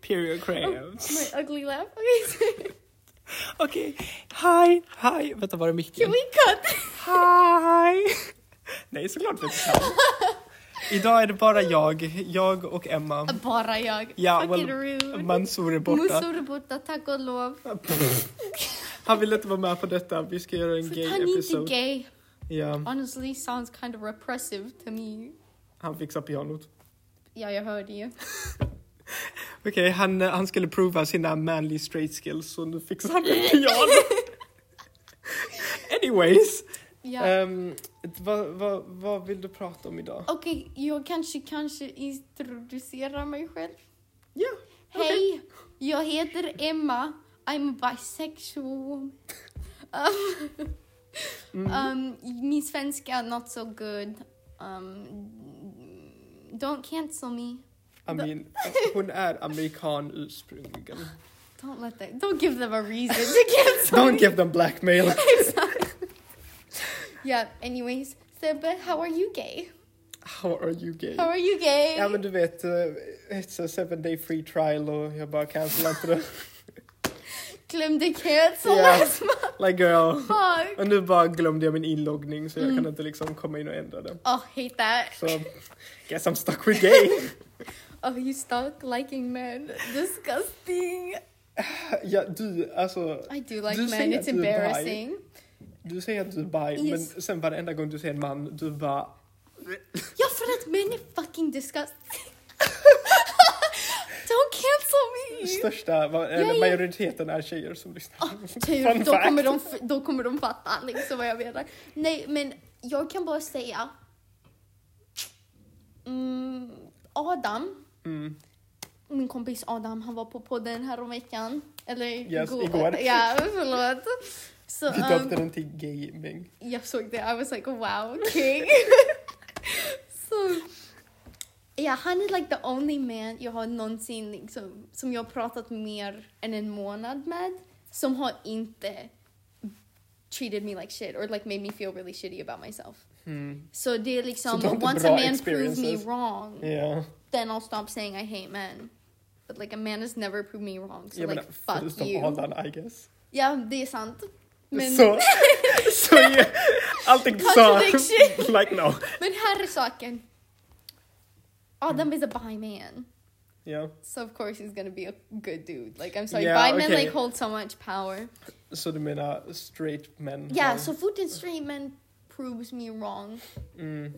Period crabs. My ugly laugh. Okay. Okej, hi, hi. Vänta, var är Can micken? we cut? Hi! Nej, såklart vi inte kan. Idag är det bara jag, jag och Emma. Bara jag. Ja, Fucking well, rude. Mansour är borta. Musor är borta, tack och lov. Pff. Han vill inte vara med på detta, vi ska göra en För att han är inte gay-episod. gay. Ja, Honestly sounds kind of repressive to me. han fixar pianot. Ja, jag hörde ju. Okej, han, eh, han skulle prova sina manly straight skills så nu fixar han ett piano. Anyways, Ja. ehm, vad, vad, vad vill du prata om idag? Okej, jag kanske, kanske introducerar mig själv. Ja, okej. Hej, jag heter Emma. I'm a bisexual woman. Um, um, min svenska not so good. Um, don't cancel me. I mean, hon är amerikan ursprungligen. Don't let that. Don't give them a reason to cancel Don't me. give them blackmail. Yeah. Anyways, Sebbe, how are you gay? How are you gay? How are you gay? Ja men du vet, eh, it's a seven day free trial och jag bara cancelar inte det. Glömde cancel Ja. last month. Like girl. Fuck. Och nu bara glömde jag min inloggning så jag Mm. kan inte liksom komma in och ändra det. Oh, hate that. Så, guess I'm stuck with gay. Oh, you stuck liking men. Disgusting. ja, du, alltså, I do like Du men. säger It's att du är bi. embarrassing. du säger att du är bi, Yes. men sen varenda gång du ser en man, du bara... Ja, för att män är fucking disgusting. Don't cancel me! Största, va- Ja, eller ja. majoriteten är tjejer som lyssnar. Oh, tur, Fun då fact. kommer, de, f- då kommer de fatta liksom vad jag menar. Nej, men jag kan bara säga... Mm, Adam, Mm. min kompis Adam, han var på podden häromveckan. Eller Yes, igår. Ja, förlåt. Så, Vi um, döpte den till gaming. jag såg det, I was like wow, king. så, ja, han är like the only man jag har någonsin liksom, som jag har pratat mer än en månad med som har inte treated me like shit or like made me feel really shitty about myself. Mm. Så det är Så liksom, du har inte once bra a man proves me experiences. wrong, Ja. then I'll stop saying I hate men. But like a man has never proved me wrong, so Jag like menar, fuck förutom you. Adam, I guess. Ja, det är sant. Men, Så, så ja, allting sa... Contradiction. like no. men här är saken. Adam is a bi man. Ja. So of course he's gonna be a good dude. Like I'm sorry, Yeah, bi men okay. like hold so much power. Så du menar straight men? Yeah, har- so food and straight men proves me wrong. Mm.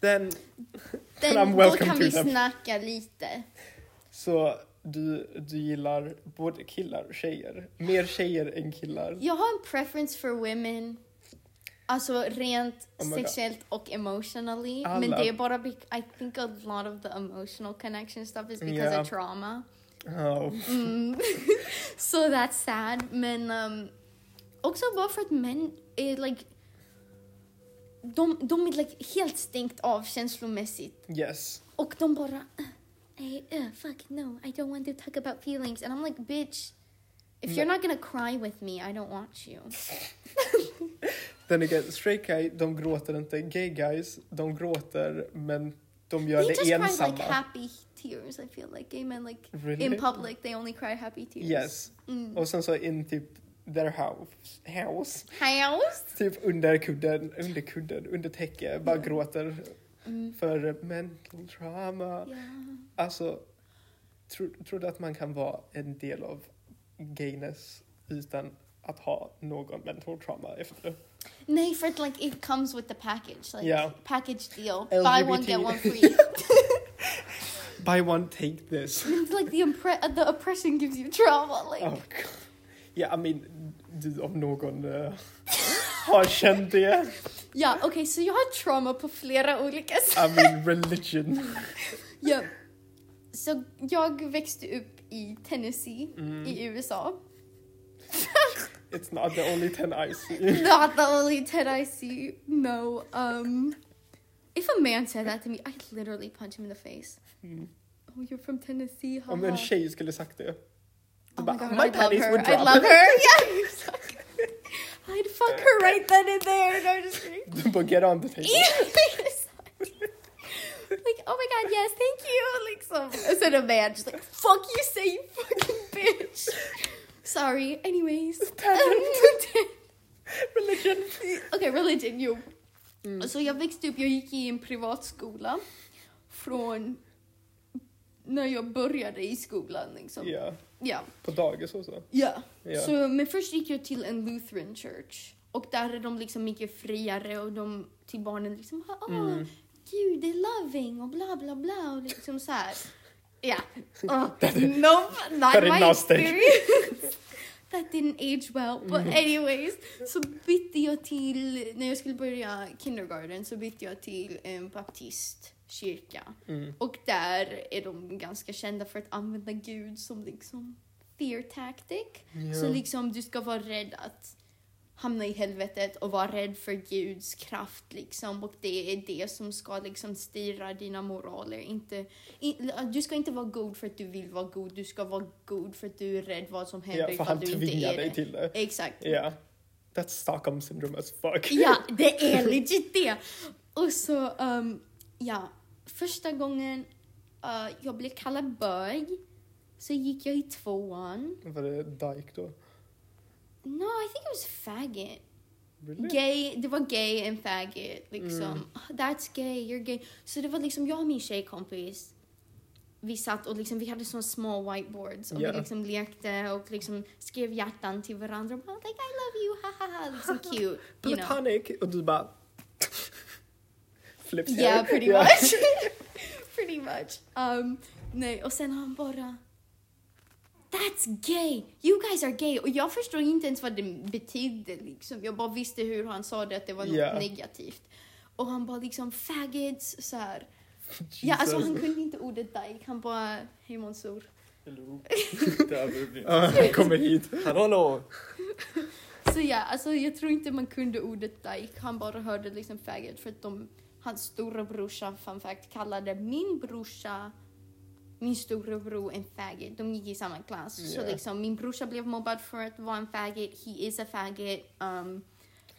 Then, I'm Then då welcome kan to vi them. snacka lite. så du, du gillar både killar och tjejer? Mer tjejer än killar? Jag har en preference for women. Alltså rent Oh my God. sexuellt och emotionally. Men Alla- det är bara bec- I think a lot of the emotional connection stuff is because Yeah. of trauma. Oh. Mm. so that's sad. Men um, också bara för att män är like... De, de är like helt stängt av känslomässigt. Yes. Och de bara... I, uh, fuck no, I don't want to talk about feelings. And I'm like, bitch, if you're not gonna cry with me, I don't want you. Then again, straight guy, de gråter inte. Gay guys, de gråter men de gör they just det cry ensamma. like happy tears, I feel like. Gay men, like, really? in public, they only cry happy tears. Yes. Mm. Och sen så in typ their house, house. House? Typ under kudden, under kudden, under täcke, bara gråter Mm. för mental trauma. Yeah. Alltså, tror, tror du att man kan vara en del av gayness utan att ha någon mental trauma efter det? Nej, för att like it comes with the package, like Yeah. package deal. Buy LGBT. one get one free. Buy one, take this. it's like the impre- uh, the oppression gives you trauma. Like Oh, God. Ja, I mean, du om någon eh, har känt det. yeah, okay. So you had trauma på flera olika sätt. I mean religion. yeah. Så jag växte upp i Tennessee Mm. i USA. It's not the only ten I see. Not the only Tennessee. No. Um, if a man said that to me, I'd literally punch him in the face. Mm. Oh, you're from Tennessee. Haha. Om en tjej skulle sagt det. Oh But my god, my I'd love panties her. would I'd drop. love her. Yeah. exactly. I'd fuck her right then and there. No, just kidding. Du bara get on the table. like, oh my god yes, thank you! Liksom. Och sen är man just like fuck you say you fucking bitch! Sorry, anyways. Tangent. Religion. Okej, religion, jo. Mm. Så jag växte upp, jag gick i en privatskola från när jag började i skolan. Liksom. Ja, Ja. på dagis och så. ja. Ja. Så, men först gick jag till en Lutheran church. Och där är de liksom mycket friare och de till barnen liksom ah, Mm. gud det är loving och bla bla bla och liksom så här. Ja. Uh, nope, not that did my not stick. experience. That didn't age well. But Mm. anyways, så bytte jag till, när jag skulle börja kindergarten så bytte jag till en baptistkyrka. Mm. Och där är de ganska kända för att använda Gud som liksom fear tactic. Så Ja. liksom du ska vara rädd att hamna i helvetet och vara rädd för Guds kraft liksom. Och det är det som ska liksom styra dina moraler. Inte, i, du ska inte vara god för att du vill vara god. Du ska vara god för att du är rädd vad som händer Ja, för han ifall du inte tvingar är dig det. till det. Exakt. Ja. That's Stockholm syndrome as fuck. Ja, det är legit det. Och så, ehm, ja, första gången eh, jag blev kallad bög så gick jag i tvåan. Var det dyke då? No, I think it was faggot. Really? Gay, det var gay and faggot liksom. Mm. "Oh, That's gay, you're gay. Så det var liksom jag och min tjejkompis. Vi satt och liksom, vi hade såna små whiteboards och Ja. vi liksom lekte och liksom skrev hjärtan till varandra och bara like I love you, hahaha, liksom cute. You know. Platonic! Och du bara... Flips Yeah, hair. pretty Ja. much. pretty much. Um, nej, och sen han bara... That's gay! You guys are gay! Och jag förstod inte ens vad det betydde liksom. Jag bara visste hur han sa det, att det var något Ja. negativt. Och han bara liksom faggots så här. Ja, alltså han kunde inte ordet dyke. Han bara, hej Mansour. Hello. Typ Ja, han kommer hit. Hallå hallå! Så ja, alltså jag tror inte man kunde ordet dyke. Han bara hörde liksom faggot för att de, hans stora brorsa, fun fact, kallade min brorsa, min stora bror en faggot. De gick i samma klass. Ja. Så liksom min brorsa blev mobbad för att vara en faggot. He is a faggot. Um,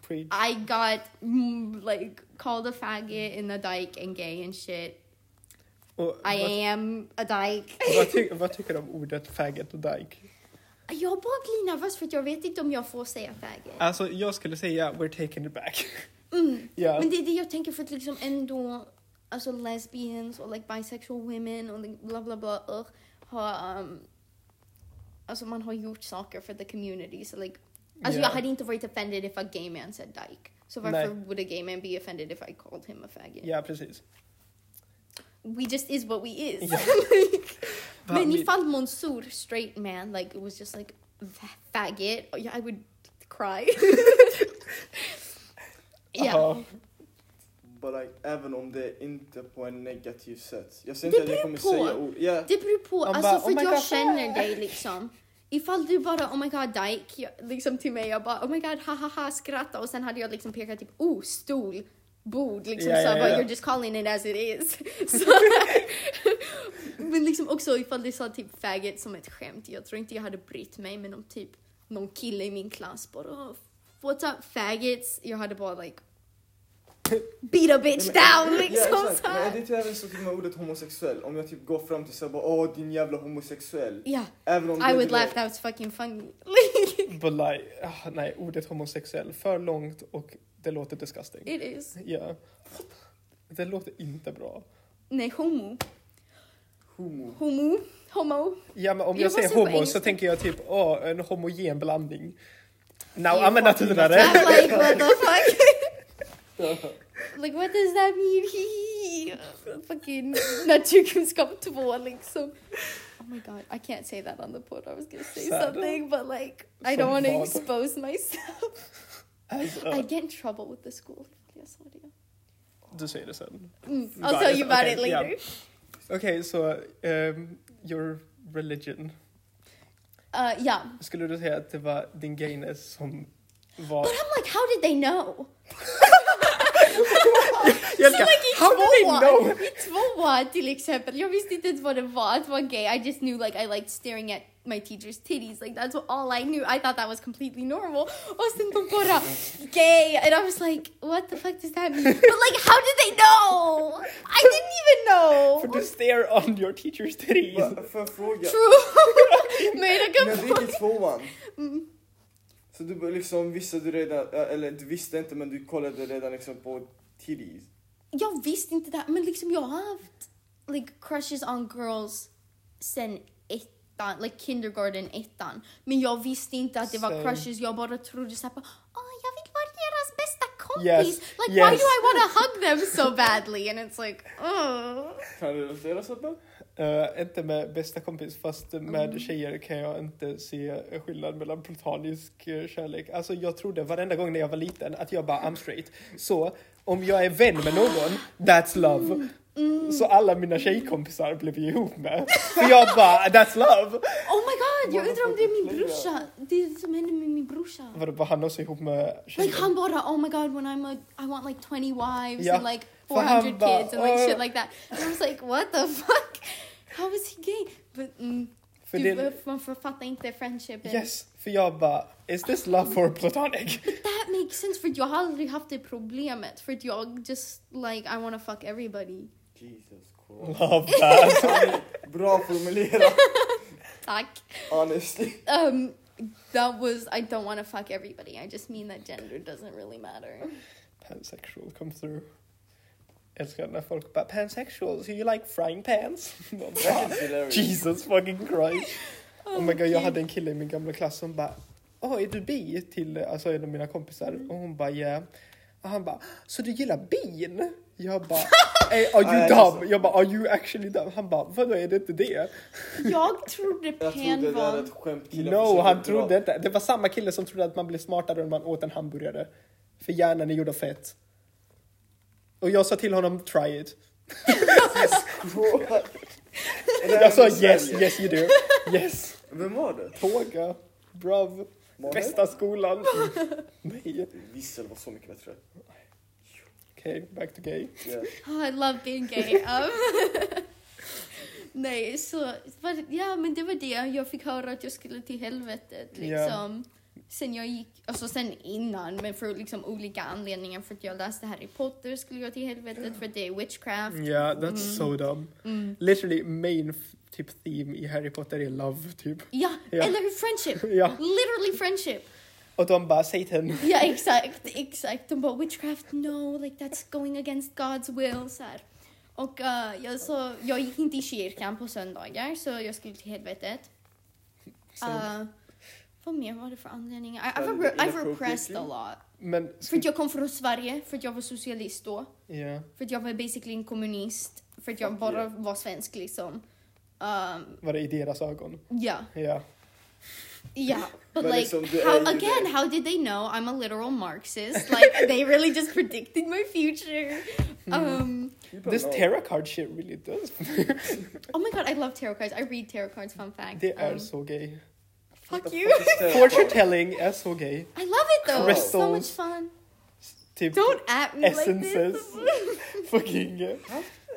Preach. I got mm, like called a faggot and a dyke and gay and shit. Och I vad, am a dyke. vad, ty, vad tycker du om ordet faggot och dyke? Jag bara blir nervös för att jag vet inte om jag får säga faggot. Alltså jag skulle säga we're taking it back. Mm. Ja. Men det är det jag tänker för att liksom ändå, alltså lesbians och like bisexual women och like bla bla bla ugh, har, um, alltså man har gjort saker för the community. Så like, alltså Ja. jag hade inte varit offended if a gay man said dyke. Så varför would a gay man be offended if I called him a faggot? Ja, precis. We just is what we is. Ja. Men vi- ifall Monsoor, straight man, like it was just like fa- faggot, oh, yeah, I would cry. yeah. Aha. But like, även om det inte på en negativ sätt. Jag säger Det inte att jag kommer beror på. säga ord. Ja, Det beror på. Man Alltså, bara, för "Oh my jag God, känner fuck." dig liksom. Ifall du bara oh my god dyke jag, liksom till mig, jag bara oh my god ha ha ha skratta och sen hade jag liksom pekat typ oh stol, bord liksom Ja, så ja, jag bara, ja. you're just calling it as it is. så, men liksom också ifall du sa typ faggot som ett skämt, jag tror inte jag hade brytt mig men om typ någon kille i min klass bara oh, what's up faggots, jag hade bara like beat a bitch down liksom ja, exakt. så Men här. det är typ även så typ med ordet homosexuell. Om jag typ går fram till såhär bara åh din jävla homosexuell. Ja, Även om det I är would det- laugh, that was fucking funny. But like, ah, nej, ordet homosexuell. För långt och det låter disgusting. It is. Ja. Det låter inte bra. Nej, homo. Homo. Homo. Homo. Ja, men om jag, Jag måste säger på homo så engelska. tänker jag typ, åh, en homogen blandning. Now You I'm a fucking naturare. I'm like, what the fuck? like, what does that mean? fucking naturkunskap 2 liksom. Oh my god, I can't say that on the pod. I was gonna say Sad. something, but like, I Som don't want to vad? expose myself. Alltså, I'd get in trouble with the school. if jag sa det. Du säger det sen. Mm, Right, I'll tell you about okay, it later. Okej, så ehm, your religion. Uh, yeah. Skulle du säga att det var din gayness som var... But I'm like, how did they know? Så like i how do they know? tvåan, i tvåan till exempel, jag visste inte ens vad det var att vara gay. I just knew like I liked staring at my teacher's titties. Like that's all I knew. I thought that was completely normal. Och sen de bara gay and I was like what the fuck does that mean? But like how did they know? I didn't even For know. to stare on your teacher's titties. Va- Får jag fråga? True. Made a När du good point. gick i tvåan, Mm. så du bör- liksom visste du redan, eller du visste inte men du kollade redan liksom på titties? Jag visste inte det här, men liksom jag har haft like crushes on girls sen ettan, like kindergarten ettan. Men jag visste inte att det var Same. crushes, jag bara trodde såhär åh jag vill vara deras bästa Yes, kompis. Like why yes. do I wanna hug them so badly? And it's like oh. Kan du relatera Sebbe? Eh, inte med bästa kompis, fast med tjejer kan jag inte se skillnad mellan platonisk eh, kärlek. Alltså jag trodde varenda gång när jag var liten att jag bara I'm straight. Så om jag är vän med någon, that's love. Så alla mina tjejkompisar blev ju ihop med. För jag bara that's love. Oh my god, jag undrar om det är min Motherfucker. brorsa. Det är det som hände med min brorsa. Vadå, var han också ihop med tjejer? Like han bara oh my god when I'm a, I want like 20 wives Ja. and like För han 400 bara, kids and like "Åh." shit like that. And I was like what the fuck? How is he gay? But mm, För du, det- man författar inte friendshipen. Yes, för jag bara is this love or platonic? That makes sense för jag har aldrig haft det problemet för att jag just like I wanna fuck everybody. Jesus Christ. Love that. Bra formulerat, Tack. honestly. Um, that was I don't wanna fuck everybody. I just mean that gender doesn't really matter. Pansexual come through. Älskar när folk bara pansexual, so you like frying pans? Man bara, That's hilarious. Jesus fucking Christ. Oh my god, jag Gud. hade en kille i min gamla klass som bara, åh är du bi? Till alltså, en av mina kompisar. Och hon bara, yeah. Och han bara, så du gillar bin? Jag bara, "Ey, are Ja, you ja, dumb? Jag bara, are you actually dumb? Han bara, vadå är det inte det? Jag trodde Jag pan trodde det här är var... ett skämt killar No, försöker han dra. trodde inte. Det var samma kille som trodde att man blev smartare om man åt en hamburgare. För hjärnan är gjord av fett. Och jag sa till honom, try it. Är det här Jag sa i Sverige? yes, yes you do. Yes. Vem var det? Tåga. Brav. Var det? Bästa skolan. Nej. Vissel var så mycket bättre. Okej, back to gay. Yeah. Oh, I love being gay. Um, nej, så... vad- Ja, men det var det. Jag fick höra att jag skulle till helvetet. Ja. Liksom. Sen jag gick... Alltså sen innan, men för liksom olika anledningar. För att jag läste Harry Potter skulle jag till helvetet för att det är witchcraft. Yeah, that's so dumb. Mm. Literally main f- typ theme i Harry Potter är love, typ. Ja, Ja. eller friendship. Ja. Literally friendship. Och de bara, Satan. Ja, exakt, exakt. De bara witchcraft, no, like that's going against God's will. Så här. Och eh, jag, så, jag gick inte i kyrkan på söndagar så jag skulle till helvetet. Så- Eh, vad mer var det för anledningar? I, Var I've, det re- I've inappropriate? repressed a lot. Men... För att jag kom från Sverige, för att jag var socialist då. Ja. För att jag var basically en kommunist. För att jag Fuck bara yeah. var svensk liksom. Um, Var det i deras ögon? ja, Ja. ja. But Men like, liksom, det är how, ju again, det. how did they know I'm a literal Marxist? Like, they really just predicted my future. Um, You don't This know. tarot card shit really does. oh my god, I love tarot cards. I read tarot cards, fun fact. Det är Um, så gay. fuck What the you. fuck is tarot? Fortune telling är så gay. I love it though. It's so much Crystals. fun. Typ Don't at me like essences. this. fucking...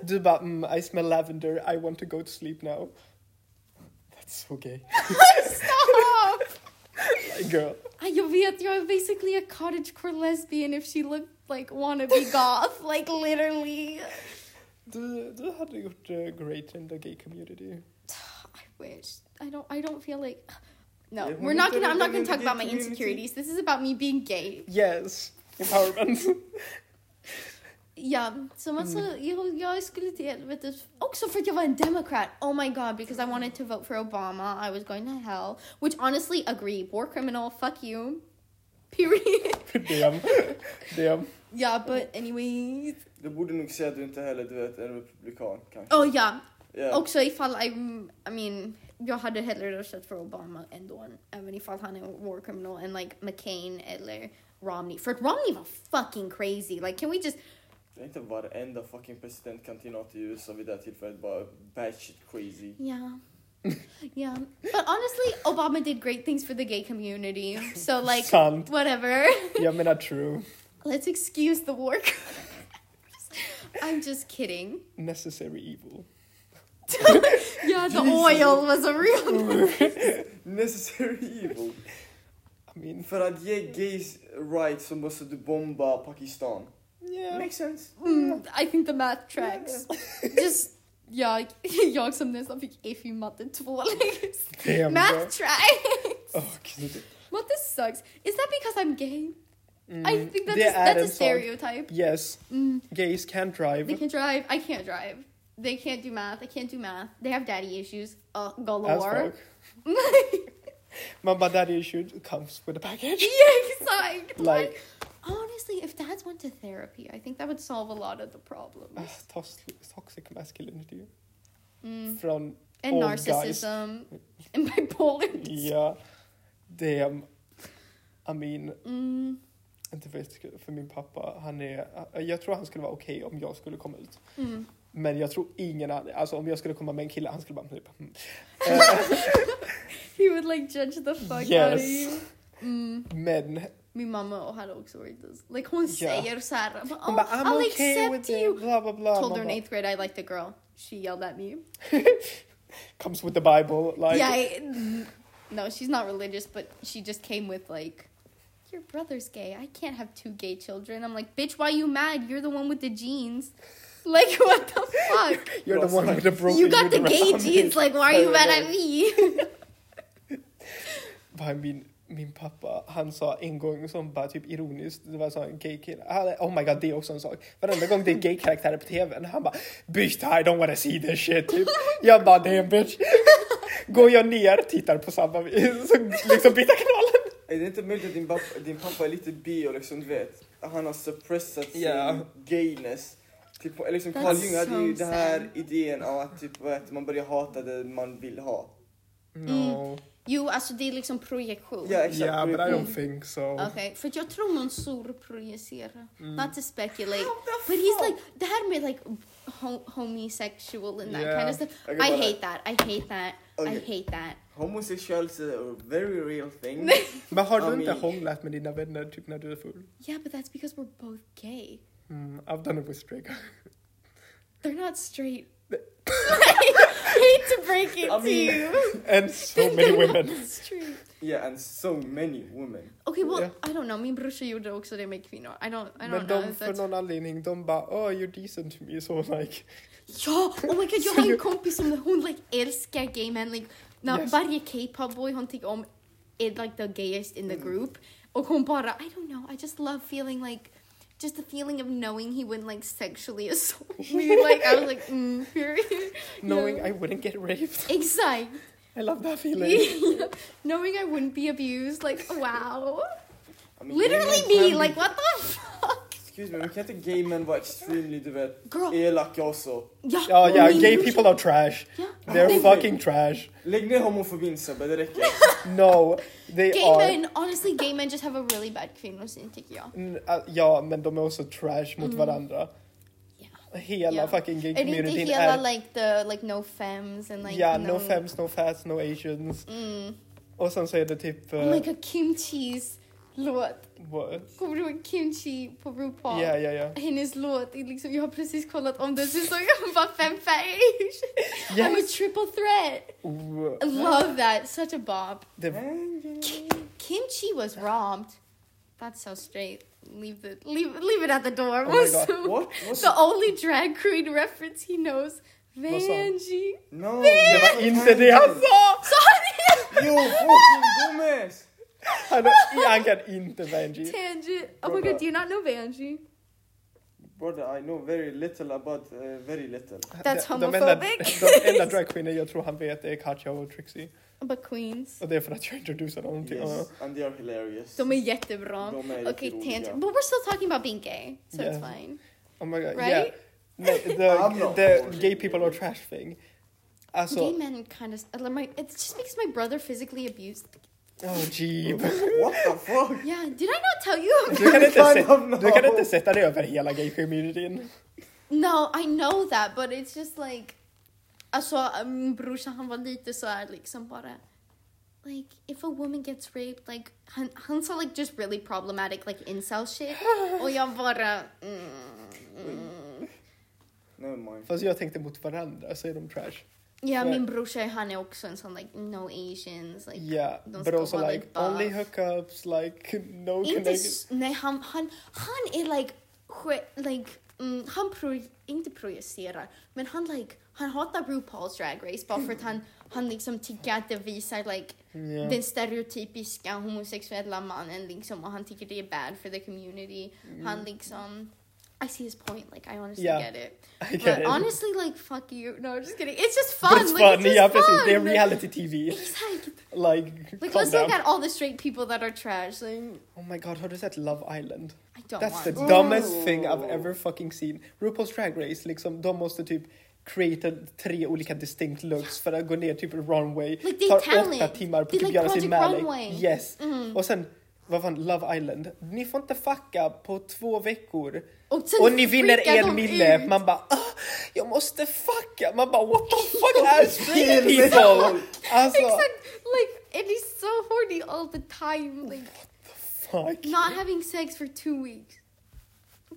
Du bara mm, I smell lavender, I want to go to sleep now. That's so gay. Stop! Girl. I, jag vet, jag är basically a cottagecore lesbian if she looked like wannabe goth. Like literally. Du, du hade gjort eh, great in the gay community. I wish. I don't, I don't feel like... No, Yeah, we're not we gonna, I'm not gonna don't talk have about the my gay community. insecurities. This is about me being gay. Yes. Empowerment. Ja, så man så, Mm. jag, jag skulle till helvetet. Också för att jag var en demokrat. Oh my god, because I wanted to vote for Obama. I was going to hell. Which honestly, agree. War criminal, fuck you. Period. Damn. Damn. yeah, but anyways. Du borde nog säga att du inte heller du vet, är republikan kanske. Oh yeah. Yeah. Också ifall I, I mean, jag hade hellre röstat för Obama ändå. Även ifall han är war criminal. And like McCain eller Romney. För att Romney var fucking crazy. Like can we just Det är inte varenda fucking presidentkandidat i USA vid det här tillfället bara bad shit crazy. Yeah. yeah. But honestly, Obama did great things for the gay community. So, like, Sant. whatever. Jag menar true. Let's excuse the war. crimes. I'm just kidding. Necessary evil. Yeah, the Jesus. oil was a real Necessary evil. I mean, För att ge gays rights så måste du bomba Pakistan. yeah. Makes sense. Mm, I think the math tracks. Just, jag, jag som nästan fick F i matte två längst. Damn, bro. Oh, Math tracks! Åh, gud. Matte sucks. Is that because I'm gay? Mm, I think that det is, är that's en a sak. stereotype. Yes, Mm, gays can they drive. can drive, I can't drive. They can't do math, I can't do math. They have daddy issues, uh, As galore. fuck. Mama daddy issue comes with a package. yeah, so I, Like- like, honestly, if dads went to therapy, I think that would solve a lot of the Ah, problems. tos- toxic masculinity. Mm. Från, And Old Oh, guys. narcissism and bipolar. disorder. ja, damn. I mean, Mm. inte vet, för min pappa, han är, äh, jag tror han skulle vara okej om jag skulle komma ut. Mm. Men jag tror ingen annan, alltså om jag skulle komma med en kille, han skulle bara typ, mm. He would like judge the fuck out Yes. of you. Mm. Men Min mamma hade också varit this. Like hon Yeah. säger såhär, oh, hon bara, I'm I'll okay accept with you. you. it, bla bla bla. Told Man her in bara, eighth grade I liked a girl. She yelled at me. Comes with the bible, like. yeah, I, no, she's not religious, but she just came with like, your brother's gay. I can't have two gay children. I'm like, bitch, why you mad? You're the one with the jeans. Like what the fuck? You're the one with the broken you got the gay uterus. jeans. Like why are you mad at me? Bara Min, min pappa, han sa en gång som bara typ ironiskt, det var så en gay kille. Han- Oh my god, det är också en sak. Varenda gång det är gay karaktärer på tvn, han bara “Bitch, I don't wanna see this shit” typ. Jag bara “Damn bitch”. Går jag ner, tittar på samma, så liksom byter kanalen. Är det inte möjligt att din, bap- din pappa är lite bi och liksom du vet, han har suppressat sin Ja. gayness? Typ, eller liksom That's Carl Jung hade ju so den här sad. idén av att typ, vad heter, man börjar hata det man vill ha. No. Jo, alltså det är liksom projektion. Ja exakt. Yeah, but I Mm. don't think so. Okej, för jag tror man surprojicerar. Mm. Not to speculate. But he's like, det här med like ho- homosexual and that Yeah. kind of stuff. Jag kan I bara- hate that, I hate that, I Okej. hate that. Homosexuals are a very real thing. Men har du I inte mean- hånglat med dina vänner typ när du är full? Yeah, but that's because we're both gay. Mm, I've done it with straight guys. They're not straight. I hate to break it I to mean- you. And so many women. Straight. yeah and so many women. Okej, well, Yeah. I don't know. Min brorsa gjorde också det med kvinnor. I don't, I don't Men know de if för that's... någon anledning, de bara “Oh, you're decent to me” så like Ja! Oh my god, jag Så har en jag- kompis som hon like, älskar gay men. Like, när Yes. Varje K-pop boy hon tycker om är like, the gayest in the Mm. group. Och hon bara, I don't know, I just love feeling like Just the feeling of knowing he wouldn't like sexually assault me. Like I was like, mm, period. knowing Yeah. I wouldn't get raped. Exact. I love that feeling. knowing I wouldn't be abused. Like wow. I mean, gay Literally men me. kan- Like what the fuck. Excuse me, men kan inte gay men vara extremely du vet, Girl. elaka också? Ja. Oh yeah, min gay brorsa- people are trash. Ja. They're Thank fucking trash. Lägg ner homofobin Sebbe, det räcker. No, they Gay are. men, honestly gay men just have a really bad kvinnosyn tycker jag. Mm, ah, ja, men de är också trash mot varandra. Hela Ja. fucking gay Är det inte communityn hela är... like the like no fems and like ja, no, femmes, no fats, no asians. Mm. Och sen så är det typ... Oh my god, kimchis låt. what? Kommer du ihåg kimchi på RuPaul? Ja, ja, ja. Hennes låt, är liksom, jag har precis kollat om den säsongen, hon bara fem färger. I'm a Yes. triple threat. Oh, I love that, such a bob. det, Kimchi was robbed. That's so straight. Leave the leave leave it at the door. Oh my God, What? What's- The only drag queen reference he knows. Vad sa han? Vanjie. No! det var inte det han sa! Sorry! Yo fucking Gomez! Han, har- han kan inte Benji. Tangent. Oh my Brother. god, do you not know Vanjie? Brother, I know very little about uh, very little. That's De- de enda- homophobic. De enda dragqueenen jag tror han vet är Katja och Trixie. But Queens. Och det är för att jag introducerar honom till honom. Yes, and they are hilarious. De är jättebra. De är Okej, jätteroliga. tangent. But we're still talking about being gay, so it's Yeah. fine. Oh my god, Right? yeah. Nej, I'm the, not the bored. gay people are trash thing. Alltså, gay men kind of. It just makes my brother physically abused. oh jeep. What the fuck? Yeah, did I not tell you? Du kan, inte Kind of sätta, no. du kan inte sätta dig över hela gay-communityn. No, I know that, but it's just like... Alltså, min brorsa han var lite så här liksom bara... Like, if a woman gets raped, like... Han, han sa like just really problematic, like incel shit. Och jag bara... Mm, mm. Never mind. Fast jag tänkte mot varandra så är de trash. Ja, Right. min brorsa han är också en sån like no asians. Like, yeah, de but ska also vara like lite only buff. hookups, like no Inte, connection. s- nej, han, han, han är like, ske- like mm, han pro, inte projicerar, men han like, han hatar RuPaul's Drag Race bara för att han, han liksom tycker att det visar like Yeah. den stereotypiska homosexuella mannen liksom och han tycker det är bad for the community. Han liksom, I see his point, like I honestly Mm. Yeah. get it. I get But it. honestly like fuck you, no I'm just kidding. It's just But fun, it's like fun, it's just yeah, fun. precis. Det är reality TV. Exakt. Like, Like calm let's look down. at all the straight people that are trash. Like, Oh my god, har du sett Love Island? I don't That's want the to. dumbest thing I've Ooh. ever fucking seen. RuPaul's Drag Race, liksom, de måste typ creata tre olika distinct looks för att gå ner typ runway. Like, they tar åtta talent. timmar på They typ like göra sin Project Malik. Runway. Mm. Yes. Och sen, vad fan, Love Island. Ni får inte fucka på två veckor. Och, sen Och ni vinner freakar en de mille. ut. Man bara, ah, jag måste fucka. Man bara, what the fuck are straight Exakt. people? Alltså, Except, like, it is so horny all the time. Like, fuck. not having sex for two weeks.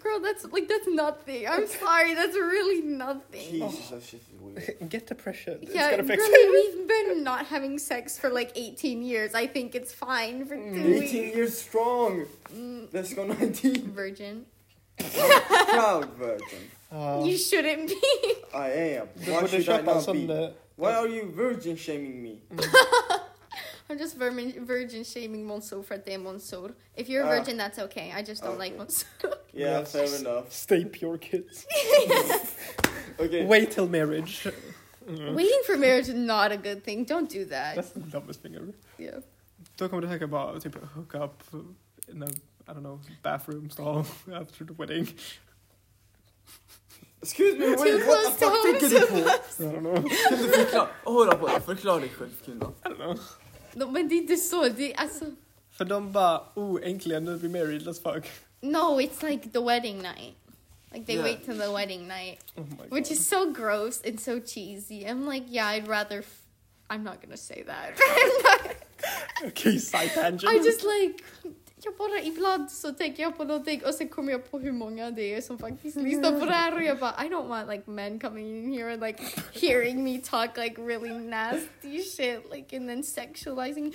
Girl, that's like that's nothing. I'm sorry, that's really nothing. Jesus, that shit is weird. Get depression. It's Yeah, gonna fix really, we've been not having sex for like 18 years. I think it's fine for Mm. two 18 weeks. years strong! Mm, Let's go 19! virgin, Proud virgin. Ah. you shouldn't be. I am. Du Why borde should I köpa en not sån... be? eh, Why are you virgin shaming me? I'm just vermin, virgin shaming Monsoor for them Monsoor. If you're a Ah. virgin, that's okay. I just don't like Monsoor. Yeah, Yes. fair enough. Stay pure kids. Okay. Wait till marriage. Waiting for marriage is not a good thing. Don't do that. That's the dumbest thing ever. Yeah. Då kommer du säkert bara typ hook up in a, I don't know, bathroom stall after the wedding. Excuse me, Too wait, close what the to fuck home, tänker du på? I don't know. Kan du förklara? Hålla på dig, förklara dig själv kvinna. I don't know. No, men det är inte så. Det är alltså... För de bara, oh äntligen nu är vi married, let's fuck. No, it's like the wedding night. Like they Yeah. wait till the wedding night, Oh my god. which is so gross and so cheesy. I'm like, yeah, I'd rather. F- I'm not gonna say that. Okay, side tangent. I just like. Jag bara, ibland så tänker jag på någonting och sen kommer jag på hur många det är som faktiskt lyssnar på det här och jag bara I don't want like men coming in here and like hearing me talk like really nasty shit like and then sexualizing.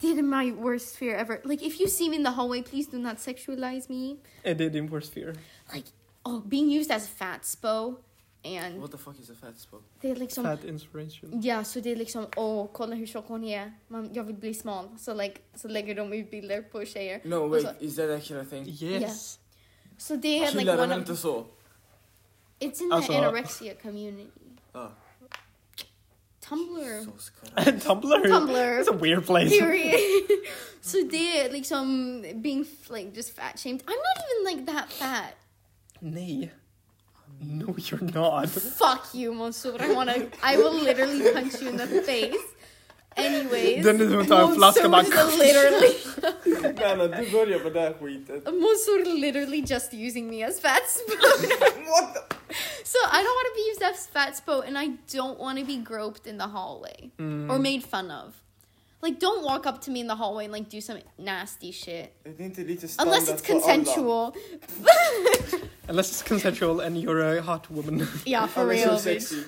Did my worst fear ever. Like if you see me in the hallway please do not sexualize me. Är det din worst fear? like oh being used as fat spo and What the fuck is a fat spot? they like some Fat inspiration? yeah so they like some oh kolla hur tjock hon är man jag vill bli smal så like så lägger de ut bilder på tjejer No Och wait, så- is that actually a thing? Yes. så det är like Killar är one inte of så? it's in Alltså- the anorexia community uh, Ah, Tumblr så ska det. Tumblr? Tumblr. It's a weird place. period so they like some being like just fat shamed I'm not even like that fat Nej. No you're not. fuck you Mansoor I wanna I will literally punch you in the face anyways Den är som att ta en flaska Mansoor bara- is literally Nanna, du börjar med det här skiten. Mosur literally just using me as fat spo. What the? so I don't want to be used as E fat spo, and I don't want to be groped in the hallway or made fun of. Like, don't walk up to me in the hallway and like do some nasty shit Är det inte lite standard unless it's för alla? consensual. Unless it's consensual and you're a hot woman. yeah, for Alla är real. så bitch. sexy.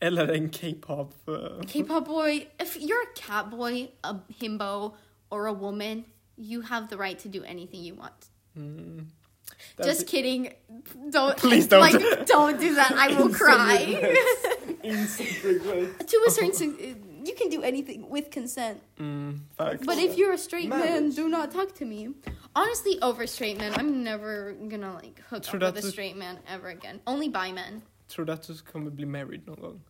Eller en K-pop. eh, K-pop boy, if you're a cat boy, a himbo, or a woman, you have the right to do anything you want. That's Just kidding. Don't Please don't. like don't do that. I will cry. Instant regret. to a certain you can do anything with consent Mm, facts. but if you're a straight man Marriage. do not talk to me honestly over straight men i'm never gonna like hook Tror up du with att a du- straight man ever again only bi men Tror du att du kommer bli married någon gång?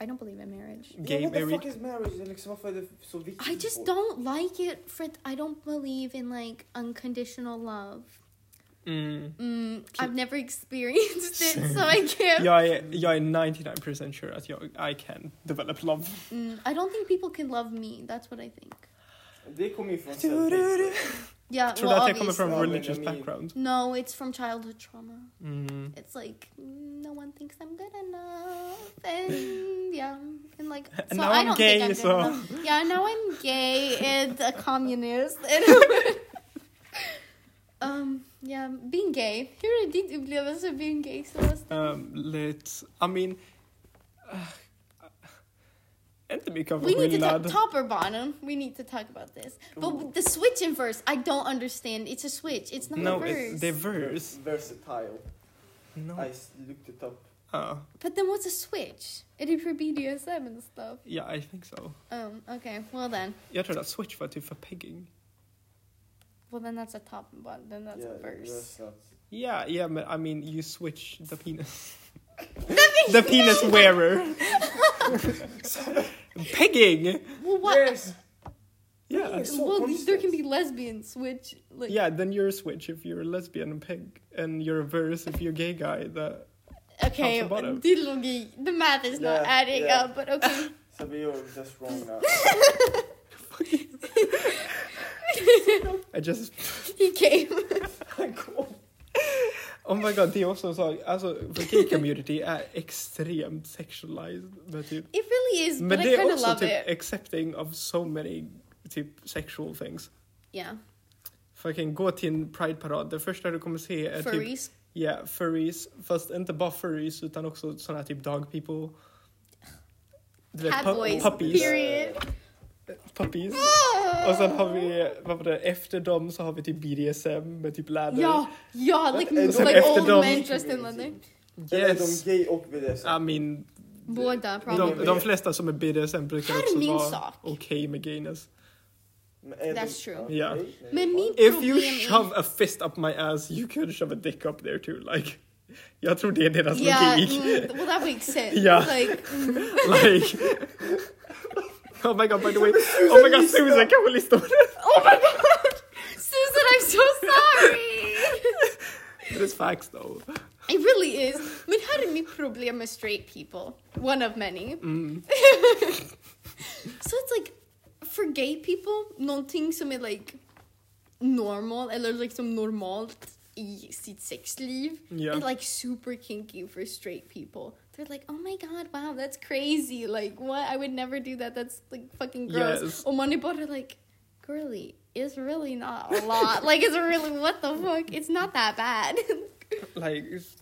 i don't believe in marriage Gay yeah, what the married? fuck is marriage? Det är Liksom, varför är det så viktigt? i just don't like it for i don't believe in like unconditional love Mm. mm, i've never experienced it so i can't Jag, är, jag är 99% sure att jag I can develop love. mm, i don't think people can love me that's what i think Det kommer ju från Du-du-du. yeah Tror du well, att jag kommer från en obviously. religious Ja, men jag menar- background? no it's from childhood trauma Mm. it's like mm, no one thinks I'm good enough, and yeah, and like And now I'm gay, so- enough. yeah, now I'm gay and a communist, and um, Ja, being gay. Hur är din upplevelse av being gay Sebastian? Um, let's, I mean... Uh, inte mycket av We need to skillnad. talk top or bottom. We need to talk about this. But the switch in verse, I don't understand. It's a switch. It's not a No, verse. it's the verse. Versatile. No. I looked it up. Uh, But then what's a switch? It is for BDSM and stuff. yeah, I think so. Um, okay. Well then. Jag trodde att switch var typ för pegging. Well then that's a top and bottom. Then that's Yeah, a verse. that's not- Yeah, yeah, but I mean, you switch the penis. the penis wearer. Pegging! Well what Yes! Yeah. Yes. so Well there constant. can be lesbians, which like Yeah, then you're a switch if you're a lesbian and peg, and you're a verse if you're a gay guy. The Top Okay, and bottom. the logi- the math is not Yeah, adding yeah. up, but okay. So we are just wrong now. I just... he came. Oh my god, det är också en sak. Alltså, för gay community är extremt sexualized. Men, typ, It really is, men but det I kind är of också love typ it. accepting of so many typ sexual things. Yeah, Fucking gå till en prideparad, det första du kommer se är typ furries. Ja, furries. Fast inte bara furries utan också såna här typ dog people. Du vet, pu- Catboys. puppies. Period. Oh! puppies. Och sen har vi, vad var det, efter dem så har vi typ BDSM med typ läder. Yeah, yeah, like, Eh, sen like efter old dem- men dressed in leather. Eller Yes. de gay och BDSM. I mean, Båda de, uh, probably. de flesta som är BDSM brukar Här är också min vara sak. okej med gayness. Men är de- That's true. Okej, Ja. nej. Men min If you problem shove a fist up my ass you can shove a dick up there too. Like, jag tror det är deras is, yeah, logik. mm, well that makes sense. Yeah. Like, mm, like... Oh my god, by the way. Oh my god, lyssna. Susan kanske lyssnar på det. oh my god, Susan, I'm so sorry. It is facts though. it really is. Men här är mitt problem med straight people. One of many. Mm. So it's like for gay people, någonting som är like normal eller liksom normalt i sitt sexliv Ja. är like super kinky for straight people. They're like, oh my god, wow, that's crazy. Like, what? I would never do that. That's like fucking gross. Yes. Och man är bara like, girly, it's really not a lot. like, it's really, what the fuck? It's not that bad. Like, s-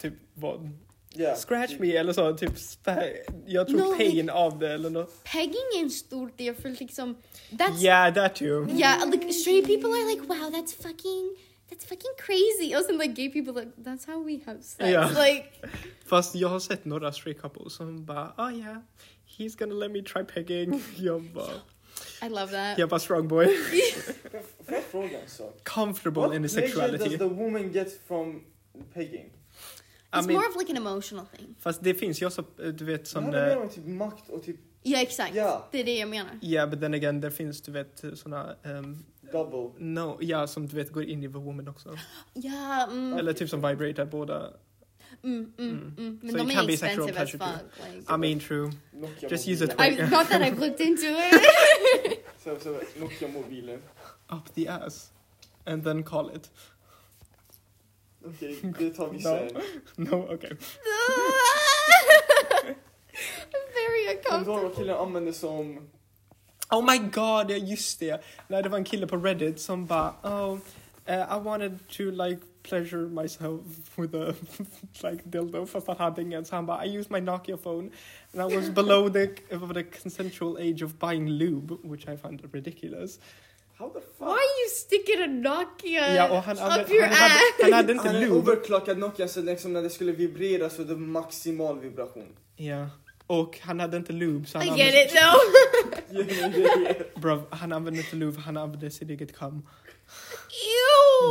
typ vad? Ja. Scratch me eller så, typ spä- Jag tror No, pain av det eller något. Pegging är en stor del för liksom, that's Yeah, that too. Yeah, like straight people are like, wow, that's fucking, that's fucking crazy. Also, like gay people, are like that's how we have sex. Yeah. Like, Fast jag har sett några straight couples som bara, ah yeah, he's gonna let me try pegging. Jag bara, I love that. jag bara strong boy. Får jag fråga en sak? Comfortable What in his pleasure sexuality. does the woman get from pegging? It's I mean, more of like an emotional thing. fast det finns ju också, du vet Det som... handlar eh, mer om typ makt och typ Yeah, exactly. Yeah. Det är det jag menar. Yeah, but then again, det finns du vet såna... ehm, double. no, ja, som du vet går in i the woman också. Yeah, mm, Eller typ som vibratar båda. mm, mm, Uh, Mm. mm. Men So de it är can be sexual expensive as fuck. pleasure Uh, Like, I mean true. Nokia Just use it I, quick. not that I've looked into it. Så, så, Nokia-mobilen. Up the ass. And then call it. Okej, det tar vi sen. No, okay. I'm very Kommer du ihåg uncomfortable. vad killen använde som... Oh my god, ja just det. Nej, det var en kille på Reddit som bara oh, eh, I wanted to like pleasure myself with a like dildo fast han hade ingen så han bara I used my Nokia phone and I was below the, of the consensual age of buying lube which I found ridiculous. How the fuck? Why are you sticking a Nokia Ja, och han, Eh, up använde, your han, ass? hade, han hade inte Han är lube. overclockad Nokia så liksom när det skulle vibrera så det var maximal vibration. Ja. Och han hade inte lube så han I använde, get it though. Bruv, han använde inte lube, han använde sitt eget cum. Ew!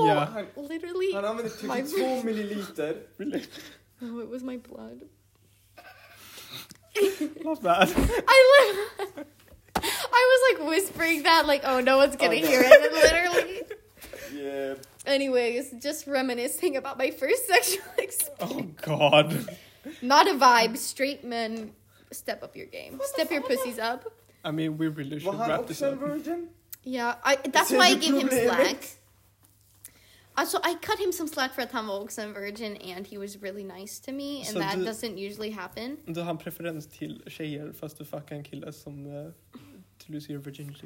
Yeah. Han, Literally. han använde 32 milliliter. Oh, it was my blood. Love that. I li- I was like whispering that, like, oh, no one's gonna Oh, no. hear it. And literally. Yeah. Anyways, just reminiscing about my first sexual experience. Oh god. Not a vibe. Straight men, step up your game. Step your pussies up. I mean we really Var should han wrap this också en up. virgin? Yeah, I, that's Ser why I du give him problemet? slack. Uh, So I cut him some slack for Tom Oaks and Virgin, and he was really nice to me, and So that the- doesn't usually happen. Du eh, har en preferens till tjejer fast du fuckar en kille som uh, till du ser virginity.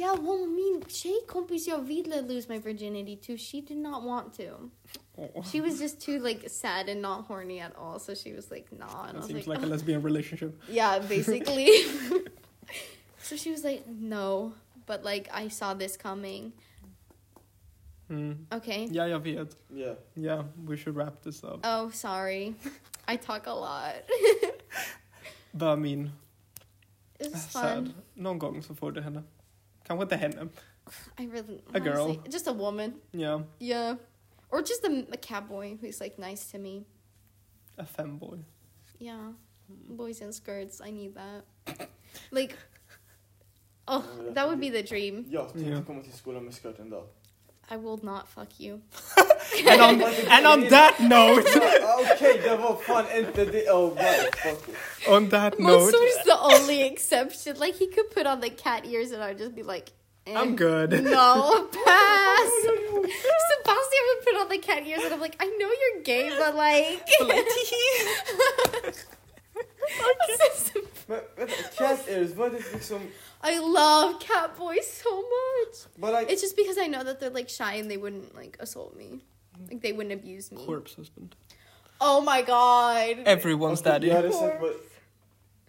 Yeah, well, min tjejkompis jag ville lose my virginity to, she did not want to. Oh. She was just too like sad and not horny at all, so she was like, nah. And I That was seems like like a lesbian relationship. Yeah, basically. so she was like, no. But like, I saw this coming. Mm. Okay. Ja, jag vet. Yeah. Ja, we should wrap this up. Oh, sorry. I talk a lot. Bara min, It's så här, fun. någon gång så får du henne. Kanske inte henne. I really. A girl. honestly- Just a woman. Ja, Yeah. Or just a, a cowboy who's like nice to me. a femboy. Yeah. Boys in skirts. I need that. Like. Oh, that would be the dream. Jag tänkte Yeah. komma till skolan med skirt en dag. I will not fuck you. And on, and on that note! Ah, Okej, det var fan inte det. Oh, right. Fuck it. On that note, Mansoor is the only exception. Like he could put on the cat ears and I'd just be like, eh. I'm good. No, pass. Sebastian would put on the cat ears and I'm like, I know you're gay, but like. Men vänta, cat ears, vad är det liksom? I love cat boys so much. But like, It's just because I know that they're like shy and they wouldn't like assault me. Mm-hmm. Like they wouldn't abuse me. Corpse husband. Oh my god. Everyone's Okej, daddy. Jag hade sagt bara,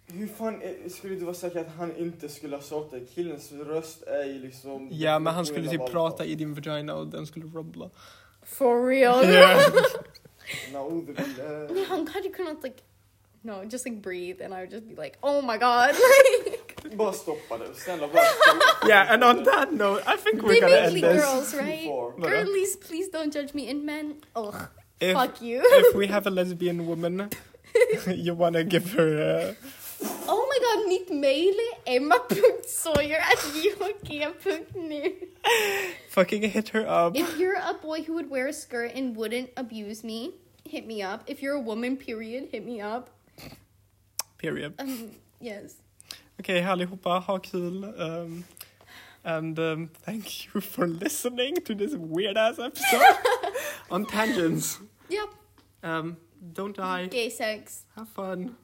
hur fan är, skulle du vara säker att han inte skulle ha sålt dig? Killens röst är ju liksom... Ja, men han skulle typ Valfart. prata i din vagina och den skulle rubbla. For real. Naoud Yeah, billah. I'm glad you couldn't like, no, just like breathe, and I would just be like, oh my god, like Bara stoppa det, snälla bara stoppa Yeah, and on that note, I think we're they gonna mainly end this. girls, right? Before. Voilà. Girlies, please don't judge me, and men, ugh, If, fuck you. if we have a lesbian woman, you wanna give her oh my god, meet Meile Emma.Sawyer at yoga.nu. uh, fucking hit her up. If you're a boy who would wear a skirt and wouldn't abuse me, hit me up. If you're a woman, period, hit me up. Period. Um, yes. Okej, allihopa, ha kul. Um, and um, thank you for listening to this weird ass episode on tangents. Yep. Um, don't die. Gay sex. Have fun.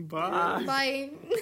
Bye. Bye.